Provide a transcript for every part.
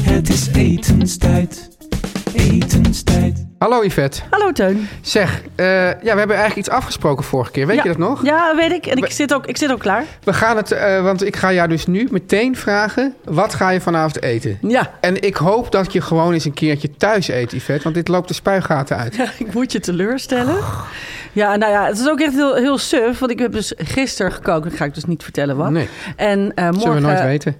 Het is etenstijd, etenstijd. Hallo Yvette. Hallo Teun. Zeg, eh, ja, we hebben eigenlijk iets afgesproken vorige keer. Weet Ja. je dat nog? Ja, weet ik. En ik zit ook, ik zit ook klaar. We gaan het, eh, want ik ga jou dus nu meteen vragen, wat ga je vanavond eten? Ja. En ik hoop dat je gewoon eens een keertje thuis eet, Yvette, want dit loopt de spuigaten uit. Ik moet je teleurstellen. Oh. Ja, nou ja, het is ook echt heel, heel suf. Want ik heb dus gisteren gekookt. Dat ga ik dus niet vertellen wat. Nee, En eh, morgen... zullen we nooit weten.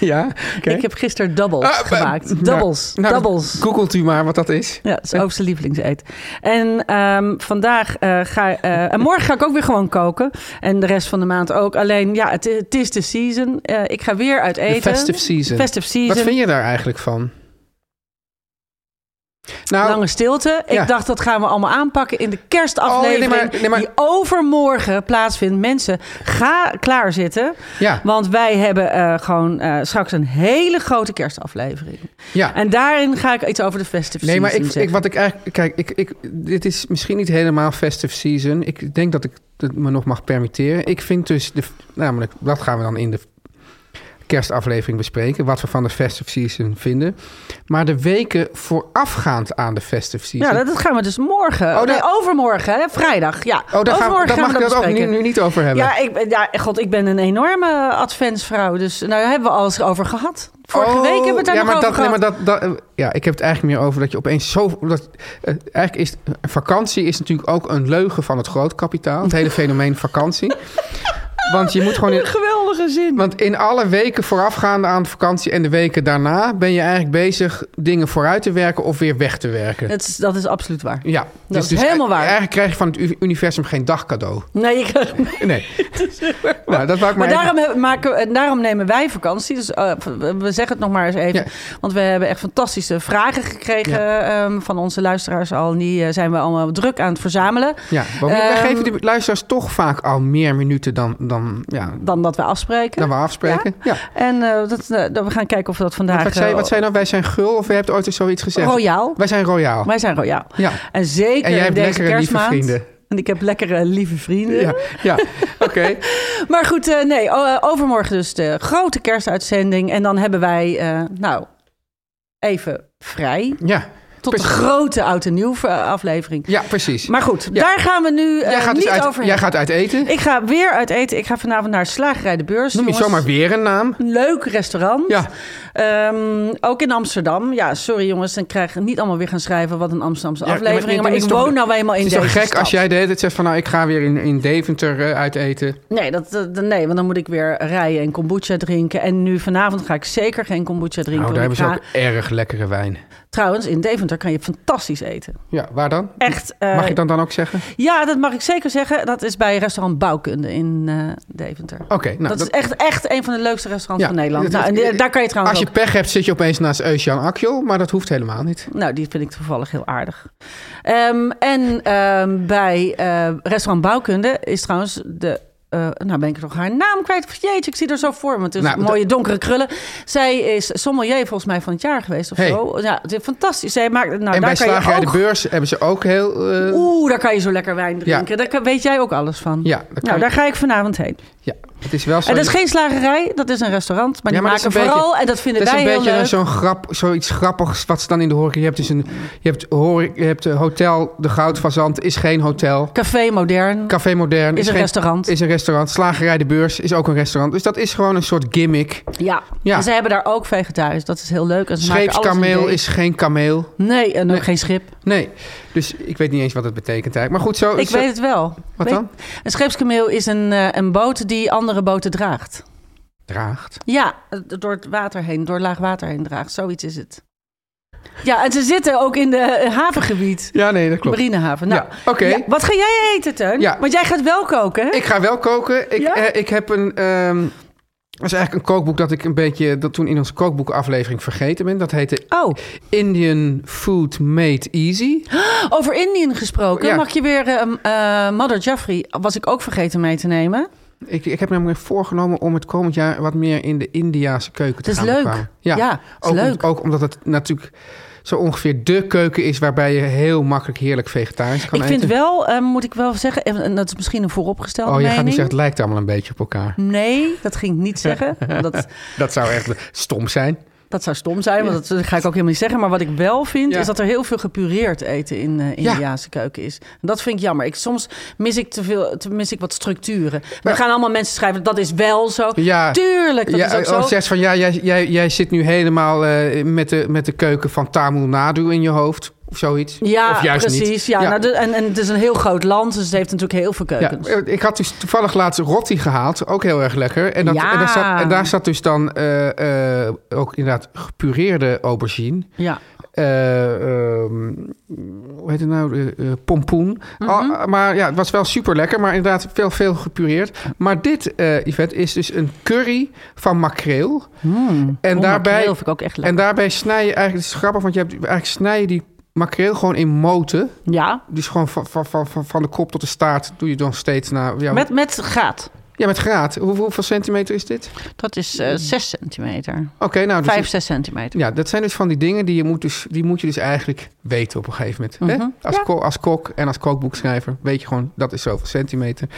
ja, oké. Ik heb gisteren doubles Ah, eh, nou, gemaakt. Doubles. nou, Eh. doubles. Googelt u maar wat dat is. Ja, het is Oogst's lievelingseet. En ehm, vandaag eh, ga eh, en morgen ga ik ook weer gewoon koken. En de rest van de maand ook. Alleen ja, het, het is de season. Eh, ik ga weer uit eten. De festive season. Festive season. Wat vind je daar eigenlijk van? Nou, Lange stilte. Ja. Ik dacht, dat gaan we allemaal aanpakken in de kerstaflevering. Oh, nee, maar- nee, maar- Die overmorgen plaatsvindt. Mensen, ga klaarzitten. ja, Want wij hebben eh, gewoon eh, straks een hele grote kerstaflevering. ja. En daarin ga ik iets over de festive Nee, maar ik, season ik, wat ik eigenlijk. Kijk, ik, ik, dit is misschien niet helemaal festive season. Ik denk dat ik het me nog mag permitteren. Ik vind dus. De, namelijk, dat gaan we dan in de kerstaflevering bespreken. Wat we van de festive season vinden. Maar de weken voorafgaand aan de festive zeggen. season. Ja, dat, dat gaan we dus morgen. Oh, nee, daar- overmorgen, hè? vrijdag. Ja, oh, daar gaan we, overmorgen daar mag we ik dat ook nu, bespreken. nu niet over hebben. Ja, ik, ben- ja, god, ik ben een enorme adventsvrouw. Dus nou, daar hebben we alles over gehad. Vorige Oh, week hebben we het daar ja, nog maar over dat, gehad. Nee, maar dat, dat, eh, ja, ik heb het eigenlijk meer over dat je opeens zo... Dat, eh, eigenlijk is vakantie is natuurlijk ook een leugen van het grootkapitaal. Het hele fenomeen vakantie. Want je moet gewoon... In, Geweldige zin. want in alle weken voorafgaande aan vakantie en de weken daarna... ben je eigenlijk bezig dingen vooruit te werken of weer weg te werken. Dat is, dat is absoluut waar. ja, dus is helemaal waar. Eigenlijk krijg je van het u- universum geen dagcadeau. Nee, ik, Nee. maar dat wou ik maar, maar even- daarom, hebben- maken, we- en daarom nemen wij vakantie. Dus, eh, we we zeggen het nog maar eens even. Ja. Want we hebben echt fantastische vragen gekregen ehm, van onze luisteraars al. En die eh, zijn we allemaal druk aan het verzamelen. Ja, bovendien, wij Ehm, geven de luisteraars toch vaak al meer minuten dan, dan, ja, Dan dat we afspreken. dan we afspreken. Ja. En eh, dat, eh, dat we gaan kijken of we dat vandaag... Wat zei, eh, wat zei je nou? Wij zijn gul of je hebt ooit eens zoiets gezegd? royaal. Wij zijn royaal. Wij zijn royaal. Ja. En zeker En jij hebt in deze lekkere, lieve kerstmaand. vrienden. En ik heb lekkere, lieve vrienden. Ja, ja. oké. Maar goed, eh, nee, o- eh, overmorgen dus de grote kerstuitzending. En dan hebben wij, eh, nou, even vrij. Ja. Tot de Precies. grote oud en nieuw eh, aflevering. ja, precies. Maar goed, Ja. daar gaan we nu eh, jij gaat, niet dus uit, over jij hebben. gaat uit eten. Ik ga weer uit eten. Ik ga vanavond naar Slagerij de Beurs. Noem je jongens. zomaar weer een naam. Een leuk restaurant. Ja. Ehm, ook in Amsterdam. Ja, sorry jongens, dan krijg ik niet allemaal weer gaan schrijven wat een Amsterdamse Ja, aflevering. maar Maar, ik- ik het is toch- woon nou eenmaal in Het is deze toch gek stad. als jij de hele tijd zegt van... nou, ik ga weer in, in Deventer eh, uit eten. Nee, dat, dat- nee, want dan moet ik weer rijden en kombucha drinken. En nu vanavond ga ik zeker geen kombucha drinken. Nou, daar want hebben ik ze ga- ook erg lekkere wijn. Trouwens, in Deventer kan je fantastisch eten. Ja, waar dan? Echt. eh, Mag ik dat dan ook zeggen? Ja, dat mag ik zeker zeggen. Dat is bij restaurant Bouwkunde in eh, Deventer. Oké, nou... dat, is echt, echt een van de leukste restaurants van Nederland. dat- nou, en die- daar kan je trouwens Als je ook- pech hebt, zit je opeens naast Eusjan Akjol. Maar dat hoeft helemaal niet. Nou, die vind ik toevallig heel aardig. Ehm, en ehm, bij eh, restaurant Bouwkunde is trouwens de... eh, nou ben ik toch haar naam kwijt. Jeetje, ik zie er zo voor me. Het is Nou, een mooie donkere krullen. Zij is sommelier volgens mij van het jaar geweest of Hey. zo. Ja, het is fantastisch. Zij maakt, nou, en bij daar kan je Slagerij ook... de Beurs hebben ze ook heel... eh, Oeh, daar kan je zo lekker wijn drinken. Ja. Daar kan- weet jij ook alles van. Ja, dat kan nou, ik- daar ga ik vanavond heen. Ja, Het is wel zo. En Eh, dat is geen slagerij, dat is een restaurant. Maar Ja, die maar dat is maken een beetje- vooral, en dat vinden Dat is wij een heel eh, beetje leuk. zo'n grap, zoiets grappigs wat ze dan in de horeca... Je hebt dus een... Je hebt, hore- je hebt eh, hotel, de Goudfazant is geen hotel. Café modern. Café Modern Is een geen- restaurant. Is een restaurant. Slagerij de Beurs is ook een restaurant. Dus dat is gewoon een soort gimmick. ja. Ja. En ze hebben daar ook vegetarisch. Dat is heel leuk. En ze maken alles in Scheepskameel deeg. is geen kameel. Nee, en ook Nee. geen schip. Nee. Dus ik weet niet eens wat het betekent eigenlijk. Maar goed, zo... Ik zo- weet het wel. Wat Weet- dan? Een scheepskameel is een, eh, een boot die andere boten draagt. Draagt. Ja, eh, door het water heen, door laag water heen draagt. Zoiets is het. Ja, en ze zitten ook in de eh, havengebied. Ja, nee, dat klopt. Marinehaven. Nou, Ja, oké. ja, wat ga jij eten, Teun? Ja. Want jij gaat wel koken, hè? Ik ga wel koken. Ik, Ja? eh, ik heb een. ehm, dat is eigenlijk een kookboek dat ik een beetje. dat toen in onze kookboekaflevering vergeten ben. Dat heette Oh, Indian Food Made Easy. over Indië gesproken. Ja. Mag je weer... eh, m- eh, Mother Jaffrey was ik ook vergeten mee te nemen. Ik, ik heb namelijk voorgenomen om het komend jaar wat meer in de Indiaanse keuken te Het is gaan leuk. bekwamen. Ja, het ook, is om- leuk. ook omdat het natuurlijk zo ongeveer de keuken is waarbij je heel makkelijk heerlijk vegetarisch kan ik eten. vind wel, eh, moet ik wel zeggen... en- En dat is misschien een vooropgestelde oh, je mening. gaat nu zeggen, het lijkt allemaal een beetje op elkaar. Nee, dat ging ik niet zeggen. Dat, Dat zou echt stom zijn. dat zou stom zijn, want dat ga ik ook helemaal niet zeggen. Maar wat ik wel vind, Ja. is dat er heel veel gepureerd eten in eh Ja. Indiaanse keuken is. En dat vind ik jammer. Ik, soms mis ik, te veel, te- mis ik wat structuren. Maar- We gaan allemaal mensen schrijven, dat is wel zo. Ja. Tuurlijk, dat ja, eh, oh, is ook zo. als zegt van ja, jij, jij, jij zit nu helemaal eh, met, de, met de keuken van Tamil Nadu in je hoofd of zoiets. Ja, of juist precies. Niet. Ja, nou, de- en, en het is een heel groot land, dus het heeft natuurlijk heel veel keukens. Ja, ik had dus toevallig laatst rotti gehaald, ook heel erg lekker. En, dat, Ja. en, daar, zat, en daar zat dus dan eh, eh, ook inderdaad gepureerde aubergine. Ja. eh, ehm, hoe heet het nou? Eh, eh, pompoen. Mhm. Ah, maar ja, het was wel super lekker, maar inderdaad veel, veel gepureerd. Maar dit, eh Yvette, is dus een curry van makreel. en Oh, daarbij. makreel vind ik ook echt lekker. En daarbij snij je eigenlijk, het is grappig, want je hebt eigenlijk snij je die makreel gewoon in moten. Ja, Dus gewoon van, van, van, van, van de kop tot de staart doe je dan steeds naar. Ja, met, met gaat. ja, met graad. Hoe, hoeveel centimeter is dit? Dat is eh, 6 centimeter. Oké, nou. dus- 5, 6 centimeter. ja, dat zijn dus van die dingen die je moet, dus, die moet je dus eigenlijk weten op een gegeven moment. Mhm. Hè? Als, ko- als kok en als kookboekschrijver weet je gewoon dat is zoveel centimeter.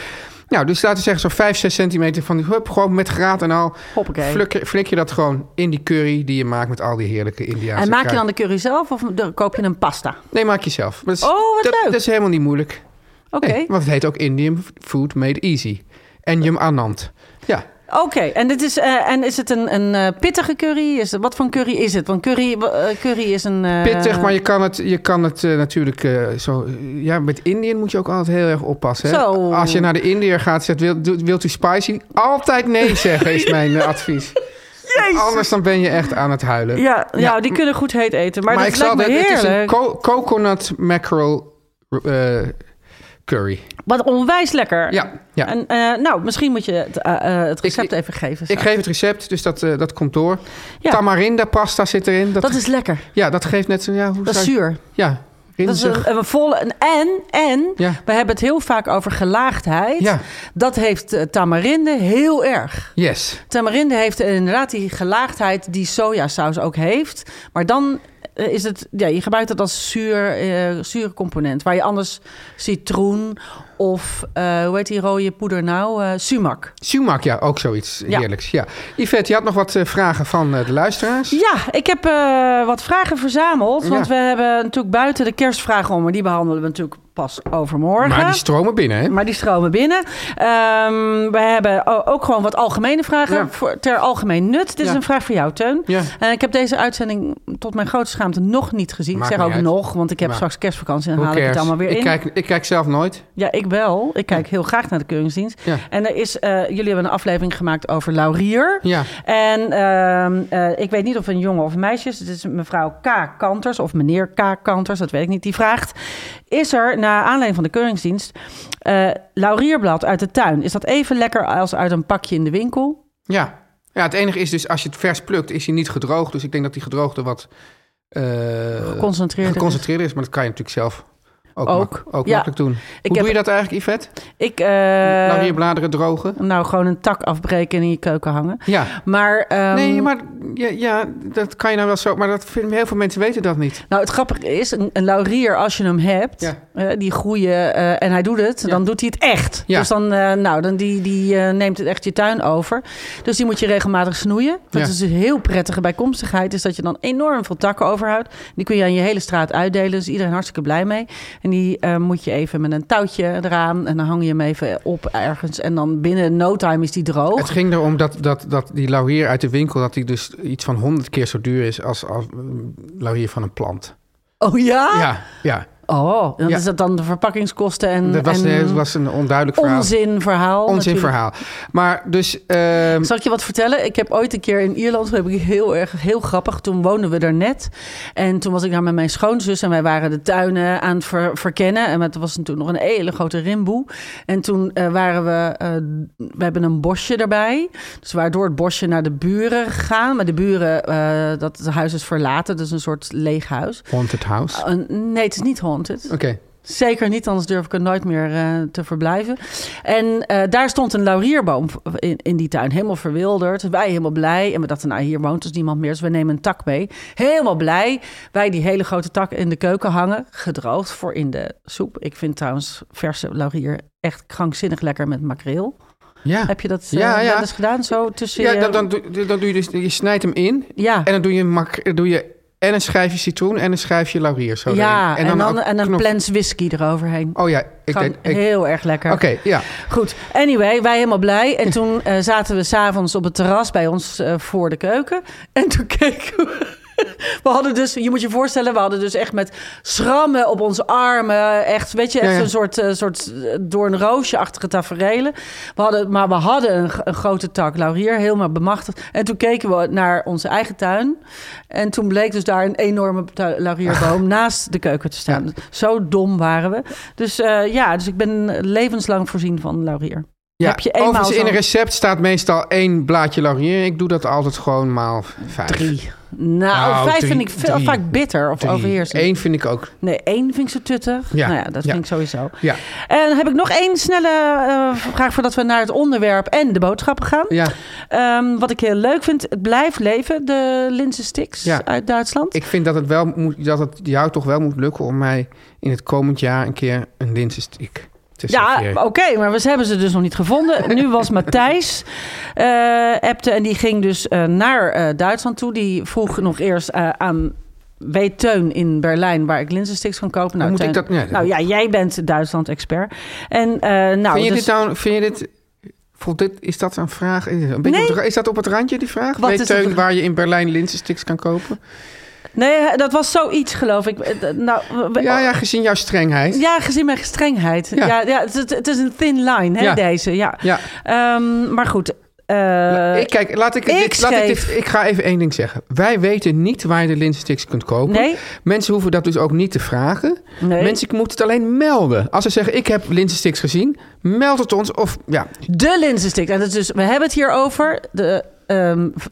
Nou, dus laten we zeggen zo'n 5, 6 centimeter van die hup, gewoon met graad en al. Hoppakee. Flik, flik je dat gewoon in die curry die je maakt met al die heerlijke Indiaanse en maak je kruiden. dan de curry zelf of de- koop je een pasta? Nee, maak je zelf. Maar dat is- Oh, wat dat, leuk. Dat is helemaal niet moeilijk. Oké. Nee, want het heet ook Indian Food Made Easy. En Yum Anand. Ja, Oké, en, dit is, eh, en is het een, een eh, pittige curry? Is het, wat voor een curry is het? Want curry, w- eh, curry is een... eh, pittig, maar je kan het, je kan het eh, natuurlijk eh, zo... Ja, met Indiën moet je ook altijd heel erg oppassen. Hè? Zo. Als je naar de Indiër gaat, zegt, wil, do- wilt u spicy? Altijd nee zeggen, is mijn eh, advies. Want Anders dan ben je echt aan het huilen. Ja, ja, Ja, die kunnen goed heet eten. Maar, dat ik zal lijkt me dit- dit is een heerlijk. co- coconut mackerel eh, curry. Wat onwijs lekker. Ja, ja. En, eh, nou, misschien moet je het, eh, eh, het recept ik- even geven. Ik geef het recept, dus dat, eh, dat komt door. Ja. Tamarinda pasta zit erin. Dat, dat is lekker. Ja, dat geeft net zo... Ja, hoe Dat is zou je- zuur. Ja, Dat is rinzig. een, een volle. En, en, en Ja. we hebben het heel vaak over gelaagdheid. Ja. Dat heeft eh, tamarinde heel erg. Yes. Tamarinde heeft inderdaad die gelaagdheid die sojasaus ook heeft. Maar dan eh, is het, ja, je gebruikt het als zuur, eh zuur component. Waar je anders citroen of, eh, hoe heet die rode poeder nou? Eh, sumac. Sumac, ja, ook zoiets Ja. heerlijks. Ja. Yvette, je had nog wat eh, vragen van eh, de luisteraars. Ja, ik heb eh, wat vragen verzameld. Want Ja. we hebben natuurlijk buiten de kerstvragen om. Maar die behandelen we natuurlijk pas overmorgen. Maar die stromen binnen, hè? Maar die stromen binnen. Ehm, we hebben o- ook gewoon wat algemene vragen Ja. voor, ter algemeen nut. Dit is Ja. een vraag voor jou, Teun. Ja. Eh, ik heb deze uitzending tot mijn grote schaamte nog niet gezien. Maakt ik zeg niet ook uit. nog, want ik heb Maar- straks kerstvakantie en Who haal ik het cares? allemaal weer ik in. Kijk, ik kijk zelf nooit. Ja, ik wel. Ik kijk heel graag naar de keuringsdienst. Ja. En er is, eh, jullie hebben een aflevering gemaakt over Laurier. Ja. En ehm, eh, ik weet niet of een jongen of een meisje is. Het is mevrouw K. Kanters of meneer K. Kanters, dat weet ik niet. Die vraagt, is er na aanleiding van de keuringsdienst eh, laurierblad uit de tuin? Is dat even lekker als uit een pakje in de winkel? Ja. ja, het enige is dus, als je het vers plukt, is hij niet gedroogd. Dus ik denk dat die gedroogde wat eh, Concentreerd. geconcentreerder is. Maar dat kan je natuurlijk zelf Ook, Ook. mak- ook Ja. makkelijk doen. Hoe Ik doe heb- je dat eigenlijk, Yvette? Ik, eh, nou, je bladeren drogen? nou, gewoon een tak afbreken en in je keuken hangen. Ja. Maar, ehm, nee, maar ja, ja, dat kan je nou wel zo... Maar dat vind, heel veel mensen weten dat niet. Nou, het grappige is, een, een laurier, als je hem hebt, Ja. eh, die groeien eh, en hij doet het, dan doet hij het echt. Ja. Dus dan, eh, nou, dan die, die eh, neemt het echt je tuin over. Dus die moet je regelmatig snoeien. Ja. Dat is dus een heel prettige bijkomstigheid, is dat je dan enorm veel takken overhoudt. Die kun je aan je hele straat uitdelen, dus iedereen hartstikke blij mee. En die eh, moet je even met een touwtje eraan en dan hang je hem even op ergens. En dan binnen no time is die droog. Het ging erom dat, dat, dat die laurier uit de winkel... dat die dus iets van honderd keer zo duur is als, als eh, laurier van een plant. Oh ja? Ja, ja. Oh, dan Ja. is dat dan de verpakkingskosten en, Dat was, en eh, was een onduidelijk verhaal. onzinverhaal. Onzin natuurlijk. verhaal. Maar dus... ehm, Zal ik je wat vertellen? Ik heb ooit een keer in Ierland, toen heb ik heel erg, heel grappig. Toen woonden we daar net. En toen was ik daar met mijn schoonzus en wij waren de tuinen aan het ver- verkennen. En het was toen nog een hele grote rimboe. En toen eh, waren we, eh, we hebben een bosje erbij. Dus we waren door het bosje naar de buren gegaan. Maar de buren, eh, dat het huis is verlaten, dus een soort leeg huis. haunted house. Eh, nee, het is niet haunted. Oh. Oké. Zeker niet, anders durf ik er nooit meer eh, te verblijven. En eh, daar stond een laurierboom in, in die tuin, helemaal verwilderd. Wij helemaal blij. En we dachten, nou, hier woont dus niemand meer, dus we nemen een tak mee. Helemaal blij. Wij die hele grote tak in de keuken hangen, gedroogd voor in de soep. Ik vind trouwens verse laurier echt krankzinnig lekker met makreel. Ja. Heb je dat eh, Ah. Ja, ja. wel eens gedaan, zo tussen Ja, je- dan, dan, doe- dan doe je dus... Je snijdt hem in ja. En dan doe je, mak doe je en een schijfje citroen en een schijfje laurier. Zo ja, erin. en, dan, ook en een knop- plens whisky eroverheen. Oh ja, ik Gewoon deed... ik- Oké, heel erg lekker. ja. Goed, anyway, wij helemaal blij. En toen eh, zaten we s'avonds op het terras bij ons eh, voor de keuken. En toen keken we... We hadden dus, je moet je voorstellen, we hadden dus echt met schrammen op onze armen. Echt, weet je, echt Ja, ja. zo'n soort, eh, soort eh, door een roosje-achtige taferelen. We hadden, maar we hadden een, g- een grote tak laurier, helemaal bemachtigd. En toen keken we naar onze eigen tuin. En toen bleek dus daar een enorme tu- laurierboom naast de keuken te staan. Zo dom waren we. Dus eh, ja, dus ik ben levenslang voorzien van laurier. ja. Heb je eenmaal Overigens, in zo'n- een recept staat meestal één blaadje laurier. Ik doe dat altijd gewoon maal vijf. Drie. Nou, Nou, vijf drie- vind ik veel, drie. vaak bitter of Drie. overheersend. Eén vind ik ook. Nee, één vind ik zo tuttig. Ja, Nou ja, dat ja. vind ik sowieso. Ja. En dan heb ik nog één snelle eh, vraag voordat we naar het onderwerp en de boodschappen gaan. Ja, Ehm, wat ik heel leuk vind, het blijft leven, de Linse Sticks Ja. uit Duitsland. ik vind dat het, wel moet, dat het jou toch wel moet lukken om mij in het komend jaar een keer een linzenstiek te Ja, oh, nou, serveren. oké, maar we hebben ze dus nog niet gevonden. Nu was Matthijs eh appte en die ging dus eh, naar eh, Duitsland toe. Die vroeg nog eerst eh, aan weet Teun in Berlijn waar ik linzensticks kan kopen. Nou, Hoe moet Teun- ik dat... Nee, nou ja, jij bent Duitsland-expert. En eh, nou, vind je dus- dit nou... Vind je dit... Voelt dit, is dat een vraag? Een beetje Nee. op het ra- is dat op het randje, die vraag? Wat Weet is het Teun op- waar je in Berlijn linzenstiks kan kopen? nee, dat was zoiets, geloof ik. Eh, Nou, we- Ja, ja, gezien jouw strengheid. Ja, gezien mijn strengheid. Ja, Ja. ja, het, het- het is een thin line, hè, Ja. deze. Ja. Ja. Ehm, maar goed. eh, Nou, ik, kijk, laat ik, ik dit, laat ik, dit, schreef- ik ga even één ding zeggen. Wij weten niet waar je de linzensticks kunt kopen. nee, Mensen hoeven dat dus ook niet te vragen. nee. Mensen moeten het alleen melden. Als ze zeggen, ik heb linzensticks gezien, meld het ons. Of ja, De linzenstick. En dat is dus, we hebben het hier over de ehm, v-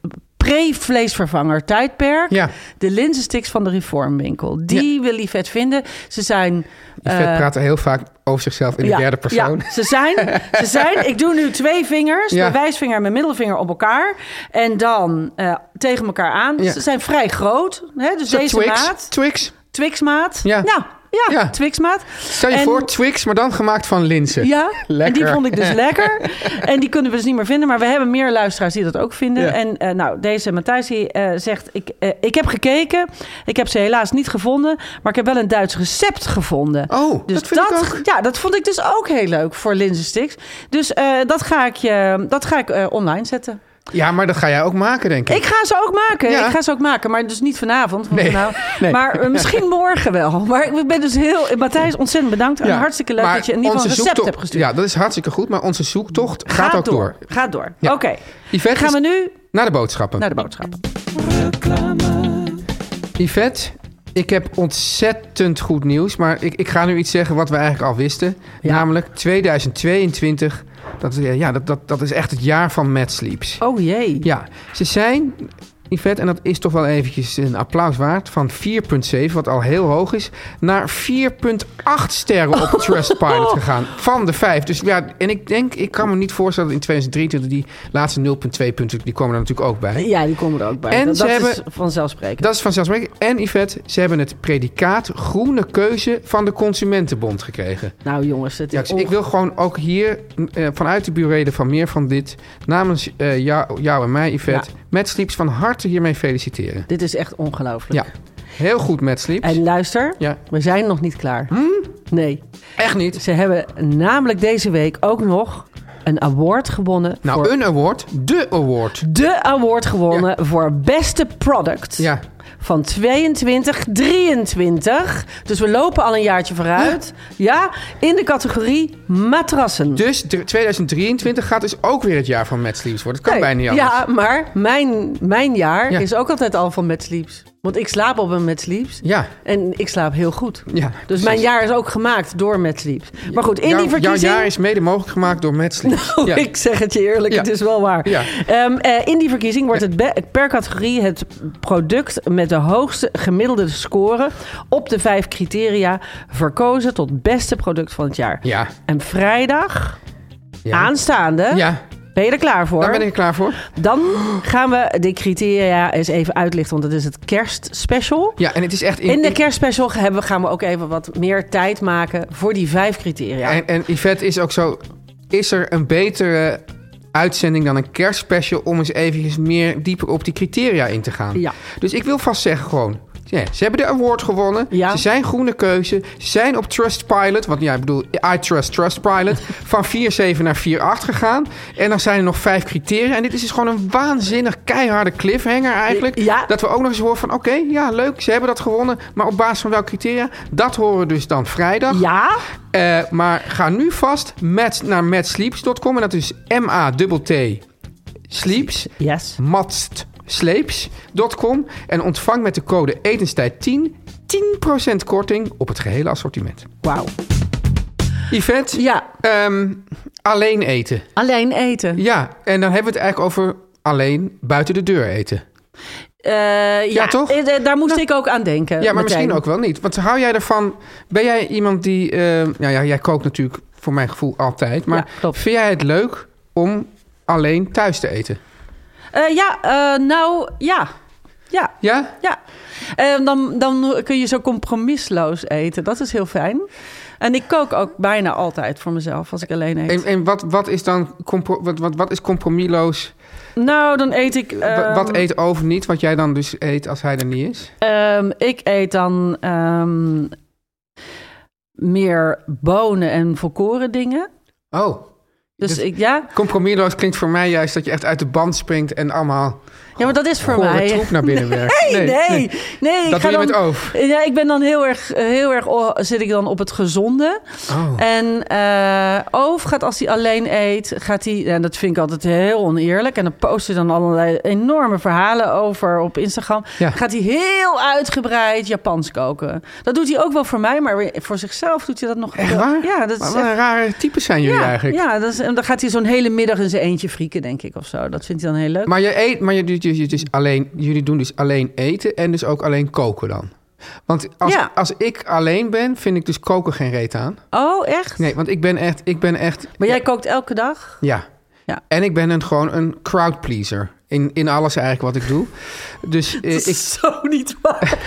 pre-vleesvervanger tijdperk. ja. De linzensticks van de reformwinkel. Die wil Yvette vinden. Ze zijn... Yvette eh, praat heel vaak over zichzelf in de derde persoon. ja, ze zijn, ze zijn. Ik doe nu twee vingers, Ja. mijn wijsvinger en mijn middelvinger op elkaar. En dan eh, tegen elkaar aan. Dus Ja. Ze zijn vrij groot. Hè? Dus Is dat deze Twix? maat. Twix? Twixmaat. Ja. ja. Ja, Ja. Twixmaat. Stel je En- voor, Twix, maar dan gemaakt van linzen. Ja, en die Lekker. vond ik dus lekker. En die kunnen we dus niet meer vinden. Maar we hebben meer luisteraars die dat ook vinden. Ja. En eh, nou, deze Matthijs die eh, zegt... Ik, eh, ik heb gekeken. Ik heb ze helaas niet gevonden. Maar ik heb wel een Duits recept gevonden. Oh, Dus dat vind ik ook. Ja, dat vond ik dus ook heel leuk voor linzensticks. Dus eh, dat ga ik, je, dat ga ik eh, online zetten. Ja, maar dat ga jij ook maken, denk ik. Ik ga ze ook maken. Ja. Ik ga ze ook maken, maar dus niet vanavond. want Nee, nou- nee. Maar eh, misschien morgen wel. Maar ik ben dus heel... Matthijs, ontzettend bedankt. En Ja. hartstikke leuk Maar dat je in ieder geval een onze recept zoektocht- hebt gestuurd. Ja, dat is hartstikke goed, maar onze zoektocht gaat, ook door. Gaat door. Ja. Oké. Yvette, Gaan we nu naar de boodschappen. naar de boodschappen. Yvette, ik heb ontzettend goed nieuws. Maar ik, ik ga nu iets zeggen wat we eigenlijk al wisten. Ja. Namelijk 2022. Dat, eh, ja, dat, dat, dat is echt het jaar van Mad Sleeps. Oh jee. Ja, ze zijn Yvette, en dat is toch wel eventjes een applaus waard, van 4,7, wat al heel hoog is, naar 4,8 sterren op Trustpilot gegaan. Van de 5. Dus ja, en ik denk, ik kan me niet voorstellen dat in 2023 die laatste 0,2 punten, die komen er natuurlijk ook bij. Ja, die komen er ook bij. En dat ze dat hebben- is vanzelfsprekend. Dat is vanzelfsprekend. En Yvette, ze hebben het predicaat groene keuze van de Consumentenbond gekregen. Nou jongens, het Ja, is dus ik wil gewoon ook hier eh, vanuit de burelen van meer van dit, namens eh, jou, jou en mij, Yvette, Matt Sleeps van harte hiermee feliciteren. Dit is echt ongelooflijk. Ja, heel goed, Matt Sleeps. En luister, Ja, Hm? we zijn nog niet klaar. Nee. echt niet. Ze hebben namelijk deze week ook nog een award gewonnen. Nou, voor een award, de award. de award gewonnen voor beste product Ja, van 22, 23. Dus we lopen al een jaartje vooruit. Ja, in de categorie matrassen. dus dr- 2023 gaat dus ook weer het jaar van Matt Sleeps worden. Dat kan Nee, bijna niet anders. Ja, maar mijn, mijn jaar Ja. is ook altijd al van Mad Sleeps. Want ik slaap op een Mad Sleeps. Ja, En ik slaap heel goed. ja. Dus mijn jaar is ook gemaakt door Mad Sleeps. Maar goed, in Jouw- die verkiezing... Jouw jaar is mede mogelijk gemaakt door Matt Sleeps. Oh, ja. Ik zeg het je eerlijk, Ja. het is wel waar. Ja. Ehm, eh, in die verkiezing wordt het be- per categorie het product met de hoogste gemiddelde score op de vijf criteria verkozen tot beste product van het jaar. Ja. En vrijdag, Ja. aanstaande, ja, ben je er klaar voor? daar ben ik er klaar voor. Dan gaan we de criteria eens even uitlichten, want dat is het kerstspecial. Ja, en het is echt... In de kerstspecial hebben, we- gaan we ook even wat meer tijd maken voor die vijf criteria. En, en Yvette is ook zo... Is er een betere uitzending dan een kerstspecial... om eens eventjes meer dieper op die criteria in te gaan? Ja. Dus ik wil vast zeggen gewoon... ja, ze hebben de award gewonnen. Ja. Ze zijn groene keuze. Ze zijn op Trustpilot. Want ja, ik bedoel, I Trust Trustpilot. van 4,7 naar 4,8 gegaan. En dan zijn er nog vijf criteria. En dit is dus gewoon een waanzinnig keiharde cliffhanger eigenlijk. Ja. Dat we ook nog eens horen van... Oké, ja, leuk. Ze hebben dat gewonnen. Maar op basis van welke criteria? Dat horen we dus dan vrijdag. Ja, Eh, maar ga nu vast met, naar matsleeps.com. En dat is M-A-T-T sleeps. yes. matsleeps.com. En ontvang met de code etenstijd 10 10% korting op het gehele assortiment. Wauw. Yvette, Ja, ehm, alleen eten. alleen eten. Ja, en dan hebben we het eigenlijk over alleen buiten de deur eten. Eh, ja, toch? eh, eh, daar moest Nou, ik ook aan denken. Ja, maar meteen. misschien ook wel niet. Want hou jij ervan... Ben jij iemand die... eh, nou ja, jij kookt natuurlijk voor mijn gevoel altijd. Maar Ja, klopt. vind jij het leuk om alleen thuis te eten? Eh, ja, eh, nou ja. Ja, Ja? ja. Eh, dan, dan kun je zo compromisloos eten. Dat is heel fijn. En ik kook ook bijna altijd voor mezelf als ik alleen eet. En, en wat, wat is dan compro wat, wat, wat is compromisloos? nou, dan eet ik. Wa- ehm, wat eet over niet, wat jij dan dus eet als hij er niet is? ehm, ik eet dan ehm, meer bonen en volkoren dingen. Oh. Dus, Dus- ik, ja. Compromisloos klinkt voor mij juist dat je echt uit de band springt en allemaal ja, maar dat is voor gore mij. troep naar binnen werkt. Nee, nee, nee. ik Dat ga doe je dan- met over. Ja, ik ben dan heel erg, heel erg oh, zit ik dan op het gezonde. Oh. En eh Oof gaat als hij alleen eet, gaat hij, en dat vind ik altijd heel oneerlijk. En dan post hij dan allerlei enorme verhalen over op Instagram. Ja. Gaat hij heel uitgebreid Japans koken. Dat doet hij ook wel voor mij, maar weer voor zichzelf doet hij dat nog. Echt waar? Ja, dat is Wat echt- een rare types zijn jullie ja, eigenlijk. ja dat is, en dan gaat hij zo'n hele middag in zijn eentje frieken, denk ik, of zo. Dat vindt hij dan heel leuk. Maar, je eet, maar je, doet- je, je- dus alleen, jullie doen dus alleen eten en dus ook alleen koken dan? Want als, Ja. als ik alleen ben, vind ik dus koken geen reet aan. Oh, echt? Nee, want ik ben echt... Ik ben echt Maar jij kookt elke dag? Ja. Ja. En ik ben een, gewoon een crowdpleaser. In, in alles eigenlijk wat ik doe. Dus eh, Dat ik, is zo niet waar.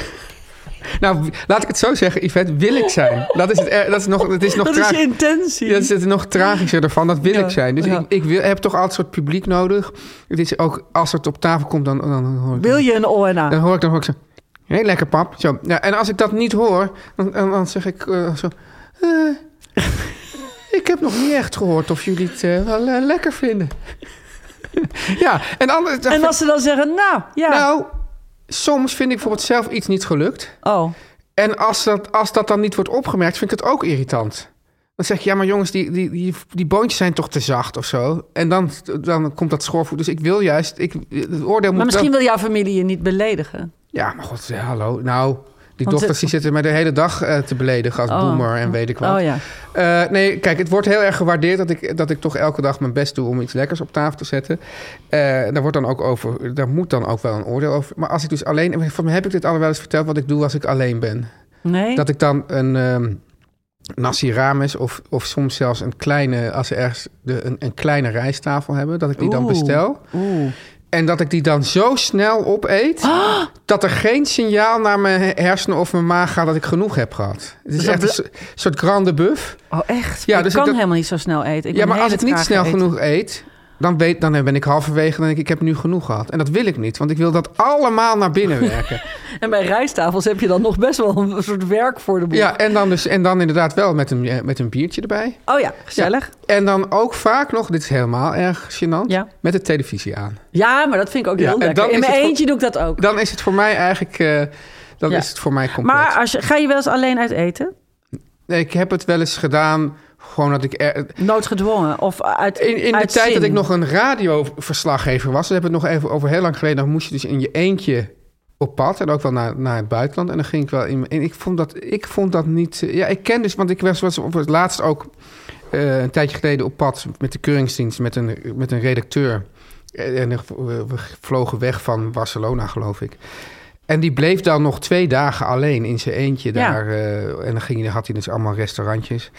nou, laat ik het zo zeggen, Yvette, wil ik zijn. Dat is, het, er- dat is nog, het is nog Dat is je traag- intentie. dat is het nog tragischer ervan, dat wil Ja, ik zijn. Dus ja. ik, ik wil, heb toch altijd een soort publiek nodig. Het is ook, als het op tafel komt, dan, dan, hoor ik... Wil je een ONA? Dan hoor ik, dan hoor ik zo... Hé, lekker pap. Zo. Ja, en als ik dat niet hoor, dan, dan, dan zeg ik eh, zo... eh, ik heb nog niet echt gehoord of jullie het eh, wel eh, lekker vinden. ja, en anders... dan En als ze dan zeggen, nou, ja. Nou, soms vind ik voor het zelf iets niet gelukt. Oh, En als dat, als dat dan niet wordt opgemerkt, vind ik het ook irritant. Dan zeg je, ja, maar jongens, die, die, die, die boontjes zijn toch te zacht of zo. En dan, dan komt dat schoorvoet. Dus ik wil juist, ik, het oordeel moet maar misschien wel- wil jouw familie je niet beledigen. Ja, maar god, ja, hallo. Nou, Die Want dochters het- die zitten mij de hele dag eh, te beledigen als Oh. boomer en weet ik wat. Oh ja. Eh, nee, kijk, het wordt heel erg gewaardeerd dat ik, dat ik toch elke dag mijn best doe om iets lekkers op tafel te zetten. Eh, daar, wordt dan ook over, daar moet dan ook wel een oordeel over. Maar als ik dus alleen. Volgens mij heb ik dit al wel eens verteld wat ik doe als ik alleen ben. Nee. Dat ik dan een ehm nasi rames of, of soms zelfs een kleine, als ze ergens de, een, een kleine rijsttafel hebben, dat ik die dan Oeh. bestel. Oeh. En dat ik die dan zo snel opeet, Ah! dat er geen signaal naar mijn hersenen of mijn maag gaat dat ik genoeg heb gehad. Het is Dus dat echt een so- soort grande buff. Oh, echt? Ja, ik dus kan ik dat- helemaal niet zo snel eten. Ik ja, ben maar als heel ik niet traag snel eten. genoeg eet, dan, weet, dan ben ik halverwege en denk ik, ik heb nu genoeg gehad. En dat wil ik niet, want ik wil dat allemaal naar binnen werken. En bij rijsttafels heb je dan nog best wel een soort werk voor de boel. ja, en dan, dus, en dan inderdaad wel met een, eh, met een biertje erbij. Oh ja, gezellig. Ja. En dan ook vaak nog, dit is helemaal erg gênant, Ja. met de televisie aan. maar dat vind ik ook Ja, heel en lekker. dan In is mijn het voor- eentje doe ik dat ook. Dan is het voor mij eigenlijk, eh, dan Ja. is het voor mij compleet. maar als je, ga je wel eens alleen uit eten? Nee, ik heb het wel eens gedaan, gewoon dat ik... Er, Noodgedwongen? Of uit in in de uit tijd dat zin? ik nog een radioverslaggever was, daar hebben we het nog even over heel lang geleden, dan moest je dus in je eentje op pad en ook wel naar, naar het buitenland. En dan ging ik wel in. En ik vond dat, ik vond dat niet. eh, Ja, ik ken dus, want ik was, was op het laatst ook eh, een tijdje geleden op pad met de Keuringsdienst, met een, met een redacteur. Eh, En en we we vlogen weg van Barcelona, geloof ik. En die bleef dan nog twee dagen alleen in zijn eentje Ja. daar. eh, en dan ging, hij- had hij dus allemaal restaurantjes.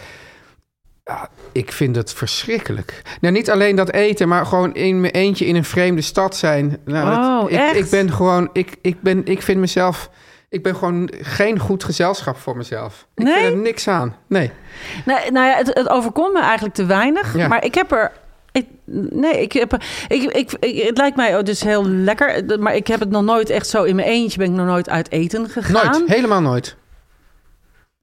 Ja, ik vind het verschrikkelijk. Nou, niet alleen dat eten, maar gewoon in mijn eentje in een vreemde stad zijn. Nou, Oh, ik, echt? ik ben gewoon, ik, ik, ben, ik vind mezelf, ik ben gewoon geen goed gezelschap voor mezelf. Ik Nee? vind er niks aan. Nee. Nee, nou ja, het, het overkomt me eigenlijk te weinig. Ja. Maar ik heb er. Ik, nee, ik heb. er- Ik, ik, ik- het lijkt mij ook dus heel lekker. Maar ik heb het nog nooit echt zo in mijn eentje. Ben ik nog nooit uit eten gegaan. Nooit. Helemaal nooit.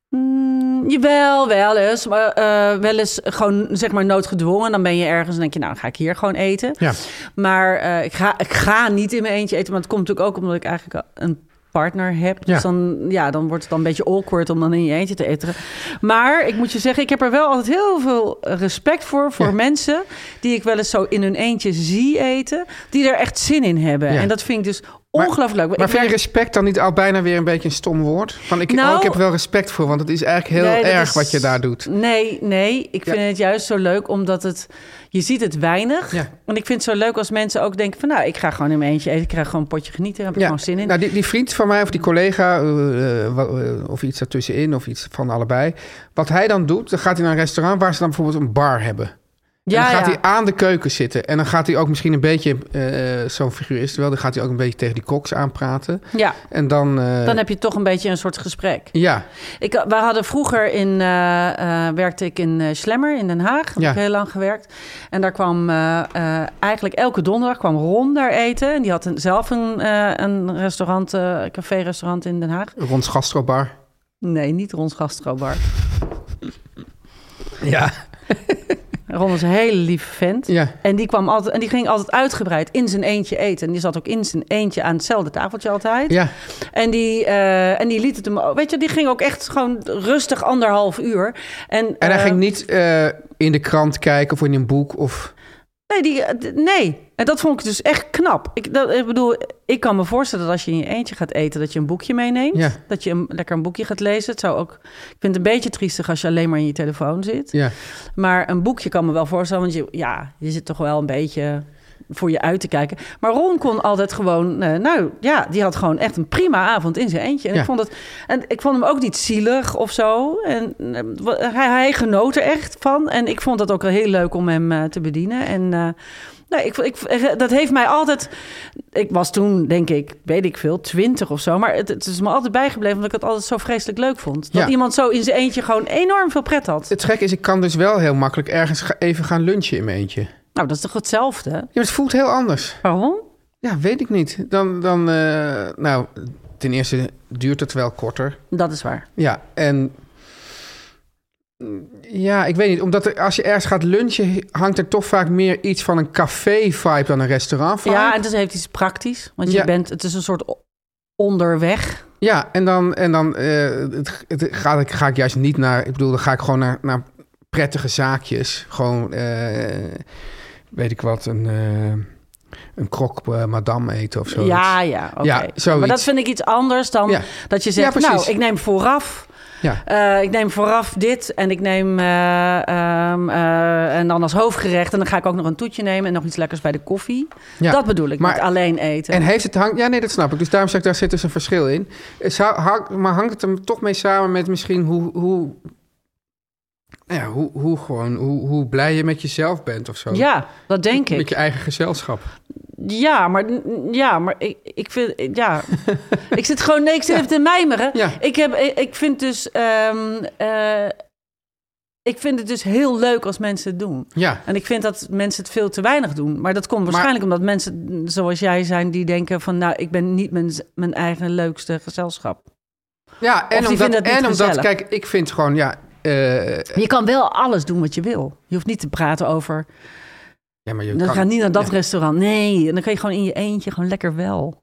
Mm, jawel, wel eens. Maar eh, wel eens gewoon zeg maar noodgedwongen. Dan ben je ergens en denk je, nou dan ga ik hier gewoon eten. Ja. Maar eh, ik, ga, ik ga niet in mijn eentje eten. Maar het komt natuurlijk ook omdat ik eigenlijk een partner heb. Dus Ja. dan, ja, dan wordt het dan een beetje awkward om dan in je eentje te eten. Maar ik moet je zeggen, ik heb er wel altijd heel veel respect voor. Voor Ja. mensen die ik wel eens zo in hun eentje zie eten. Die er echt zin in hebben. Ja. En dat vind ik dus ongelooflijk leuk. Maar Ik vind je merk- respect dan niet al bijna weer een beetje een stom woord? Van ik, Nou- oh, ik heb er wel respect voor, want het is eigenlijk heel Nee, dat erg is- wat je daar doet. Nee, nee. Ik Ja. vind het juist zo leuk omdat het... Je ziet het weinig. Ja. En ik vind het zo leuk als mensen ook denken van... Nou, ik ga gewoon in mijn eentje eten. Ik krijg gewoon een potje genieten. Daar heb ik gewoon zin in. Nou, die, die vriend van mij of die collega, eh, eh, wa- eh, of iets daartussenin, of iets van allebei. Wat hij dan doet, dan gaat hij naar een restaurant waar ze dan bijvoorbeeld een bar hebben. en ja, dan gaat ja. hij aan de keuken zitten. En dan gaat hij ook misschien een beetje, eh, zo'n figuur is het wel, dan gaat hij ook een beetje tegen die koks aanpraten. ja. En dan... eh, Dan heb je toch een beetje een soort gesprek. Ja, Ik, wij hadden vroeger in, eh, eh, werkte ik in eh, Slemmer in Den Haag. Daar heb Ja. ik heel lang gewerkt. En daar kwam eh, eh, eigenlijk elke donderdag kwam Ron daar eten. En die had een, zelf een, eh, een restaurant, eh, café-restaurant in Den Haag. rond gastrobar. Nee, niet Rons Gastrobar. Ja. Ron was een hele lieve vent. Ja. En die, kwam altijd, en die ging altijd uitgebreid in zijn eentje eten. En die zat ook in zijn eentje aan hetzelfde tafeltje altijd. Ja. En, die, eh, en die liet het hem... ook- Weet je, die ging ook echt gewoon rustig anderhalf uur. En, En hij eh, ging niet eh, in de krant kijken of in een boek of... Nee, die, eh, d- nee, en dat vond ik dus echt knap. Ik, dat, ik bedoel, ik kan me voorstellen dat als je in je eentje gaat eten... dat je een boekje meeneemt. Ja. Dat je een, lekker een boekje gaat lezen. Het zou ook, ik vind het een beetje triestig als je alleen maar in je telefoon zit. Ja. Maar een boekje kan me wel voorstellen, want je, ja, je zit toch wel een beetje voor je uit te kijken. Maar Ron kon altijd gewoon, eh, nou ja, die had gewoon echt een prima avond in zijn eentje. En, Ja. ik, vond het, en ik vond hem ook niet zielig of zo. En eh, wa- hij, hij genoot er echt van. En ik vond dat ook wel heel leuk om hem eh, te bedienen. En eh, nou, ik, ik, dat heeft mij altijd... Ik was toen, denk ik, weet ik veel, twintig of zo. Maar het, het is me altijd bijgebleven omdat ik het altijd zo vreselijk leuk vond. Dat Ja. iemand zo in zijn eentje gewoon enorm veel pret had. Het gek is, ik kan dus wel heel makkelijk ergens ga- even gaan lunchen in mijn eentje. Ja, Nou, dat is toch hetzelfde? maar het voelt heel anders. Waarom? Ja, weet ik niet. Dan, dan eh, nou, ten eerste duurt het wel korter. Dat is waar. Ja, en... mm, Ja, ik weet niet. Omdat er- als je ergens gaat lunchen, hangt er toch vaak meer iets van een café-vibe dan een restaurant-vibe. Ja, en het heeft iets praktisch. Want je Ja. bent, het is een soort o- onderweg. Ja, en dan, en dan eh, het, het ga, ik, ga ik juist niet naar... Ik bedoel, dan ga ik gewoon naar, naar prettige zaakjes. Gewoon, eh, weet ik wat, een, eh, een krok eh, madame eten of zo. Ja, ja, oké. Ja, zoiets. maar dat vind ik iets anders dan Ja. dat je zegt, Ja, precies. nou, ik neem vooraf... Ja. eh, ik neem vooraf dit en ik neem eh, ehm, eh, en dan als hoofdgerecht en dan ga ik ook nog een toetje nemen en nog iets lekkers bij de koffie. Ja. Dat bedoel ik, Maar- niet alleen eten. En heeft het hang... Ja, nee, dat snap ik. Dus daarom zeg ik, daar zit dus een verschil in. Eh, zou- hang- maar hangt het hem toch mee samen met misschien hoe... hoe nou ja, hoe, hoe, gewoon, hoe, hoe blij je met jezelf bent of zo. ja, dat denk ik. Met je eigen gezelschap. Ja, maar, ja, maar ik, ik vind... ik- Ja. ik zit gewoon... Nee, ik zit even te mijmeren. Ja. Ik, heb, ik, ik vind dus... ehm, eh, ik vind het dus heel leuk als mensen het doen. Ja, En ik vind dat mensen het veel te weinig doen. Maar dat komt waarschijnlijk omdat mensen zoals jij zijn... die denken van, nou, ik ben niet mijn, mijn eigen leukste gezelschap. ja en die omdat, vinden het niet en omdat gezellig. kijk, ik vind gewoon, ja... eh, Je kan wel alles doen wat je wil. Je hoeft niet te praten over... ja maar je Dan kan- ga niet naar dat ja. restaurant. Nee, en dan kan je gewoon in je eentje gewoon lekker wel.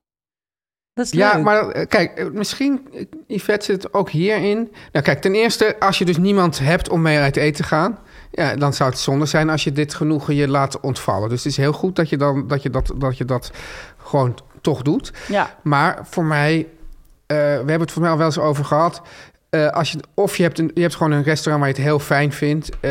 Dat is Ja, leuk. maar eh, kijk, eh, misschien, eh, Yvette, zit het ook hierin. Nou kijk, ten eerste, als je dus niemand hebt om mee uit eten te gaan... Ja, dan zou het zonde zijn als je dit genoegen je laat ontvallen. Dus het is heel goed dat je, dan, dat, je, dat, dat, je dat gewoon t- toch doet. Ja. Maar voor mij, eh, we hebben het voor mij al wel eens over gehad. Eh, als je, of je hebt, een, je hebt gewoon een restaurant waar je het heel fijn vindt, eh,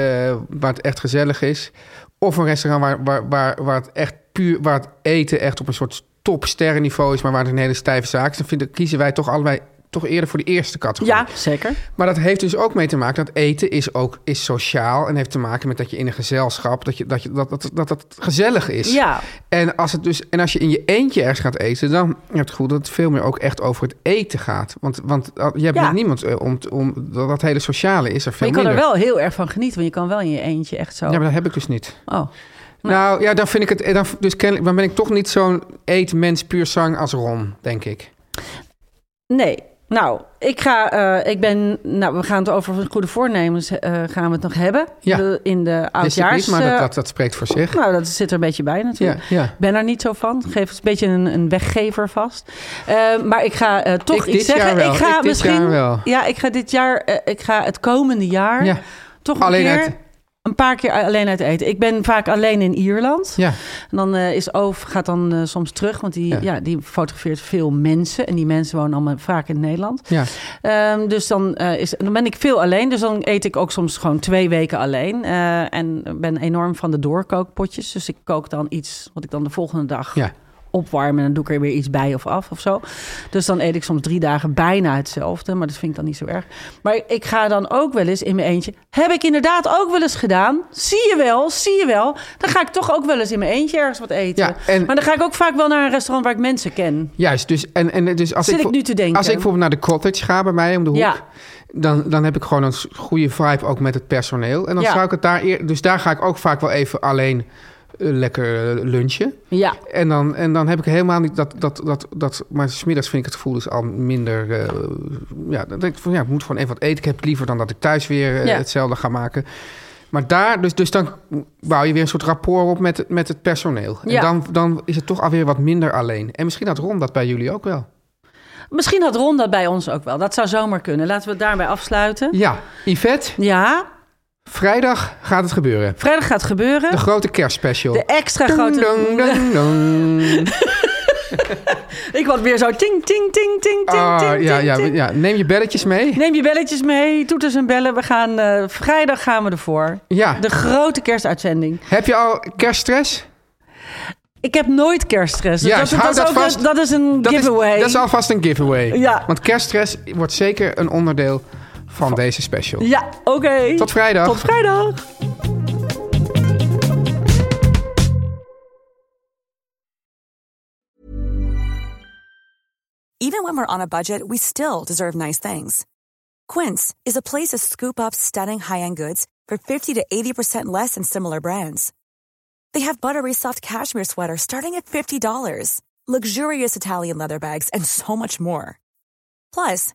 waar het echt gezellig is. Of een restaurant waar, waar, waar, waar het echt puur, waar het eten echt op een soort topsterrenniveau is, maar waar het een hele stijve zaak is. Dan vinden, kiezen wij toch allebei toch eerder voor de eerste categorie. Ja, zeker. Maar dat heeft dus ook mee te maken dat eten is ook is sociaal en heeft te maken met dat je in een gezelschap dat je, dat, je, dat, dat, dat, dat het gezellig is. Ja, En als, het dus, en als je in je eentje ergens gaat eten, dan heb je het goed dat het veel meer ook echt over het eten gaat. Want, want eh, je hebt Ja. met niemand eh, om, te- om dat, dat hele sociale is er Maar veel je kan er minder. wel heel erg van genieten, want je kan wel in je eentje echt zo. Ja, maar dat heb ik dus niet. Oh, Nou ja, dan vind ik het. eh, Dan, dus kennelijk, dan ben ik toch niet zo'n eetmens puur zang als Ron, denk ik. nee. Nou, ik ga, eh, ik ben, nou, we gaan het over goede voornemens eh, gaan we het nog hebben Ja. De- in de Wist ik oudjaars. niet, maar dat, eh, dat, dat spreekt voor zich. Nou, dat zit er een beetje bij Ja, natuurlijk. ja. Ik ben er niet zo van. Geef een beetje een, een weggever vast. Eh, maar ik ga eh, toch Ik dit iets zeggen. jaar wel. Ik ga Ik dit misschien. jaar wel. Ja, ik ga dit jaar. eh, ik ga het komende jaar Ja. toch Alleen een keer. uit- Een paar keer alleen uit eten. Ik ben vaak alleen in Ierland. Ja. En dan eh, is Oof gaat dan eh, soms terug, want die, Ja. ja. die fotografeert veel mensen. En die mensen wonen allemaal vaak in Nederland. Ja. Ehm, dus dan, eh, is, dan ben ik veel alleen. Dus dan eet ik ook soms gewoon twee weken alleen. Eh, en ben enorm van de doorkookpotjes. Dus ik kook dan iets wat ik dan de volgende dag Ja. opwarm. En dan doe ik er weer iets bij of af of zo. Dus dan eet ik soms drie dagen bijna hetzelfde. Maar dat vind ik dan niet zo erg. Maar ik ga dan ook wel eens in mijn eentje. Heb ik inderdaad ook wel eens gedaan. Zie je wel, zie je wel. Dan ga ik toch ook wel eens in mijn eentje ergens wat eten. Ja, en- Maar dan ga ik ook vaak wel naar een restaurant waar ik mensen ken. Juist, dus, en, en dus als Zit ik, ik nu te denken. Als ik bijvoorbeeld naar de cottage ga bij mij om de hoek, Ja. dan, dan heb ik gewoon een s- goede vibe ook met het personeel. En dan Ja. zou ik het daar eer, dus daar ga ik ook vaak wel even alleen eh, lekker eh, lunchen. Ja. En dan, en dan heb ik helemaal niet dat, dat, dat, dat maar smiddags vind ik het gevoel dus al minder, eh, ja, dan denk ik van ja, ik moet gewoon even wat eten. Ik heb het liever dan dat ik thuis weer eh, Ja. hetzelfde ga maken. Maar daar, dus, dus dan bouw je weer een soort rapport op met, het- met het personeel. En Ja. dan, dan is het toch alweer wat minder alleen. En misschien had Ron dat bij jullie ook wel. Misschien had Ron dat bij ons ook wel. Dat zou zomaar kunnen. Laten we het daarbij afsluiten. Ja, Yvette, Ja, vrijdag gaat het gebeuren. vrijdag gaat gebeuren. De grote kerstspecial. De extra Dong, grote... dong, dong, dong. Ik was weer zo ting, ting, ting, ting, ting, Ah, ting, ja, ting, ja, ting. ja, neem je belletjes mee. Neem je belletjes mee, toeters en bellen. We gaan, eh, vrijdag gaan we ervoor. Ja. De grote kerstuitzending. Heb je al kerststress? Ik heb nooit kerststress. Dus Ja, dat, hou dat, dat is ook, vast. een- Dat is een Dat is, giveaway. dat is alvast een giveaway. Ja. Want kerststress wordt zeker een onderdeel van deze special. Ja, oké. Tot vrijdag. Tot vrijdag. Even when we're on a budget, we still deserve nice things. Quince is a place to scoop up stunning high-end goods for 50 to 80% less than similar brands. They have buttery soft cashmere sweaters starting at $50, luxurious Italian leather bags, and so much more. Plus,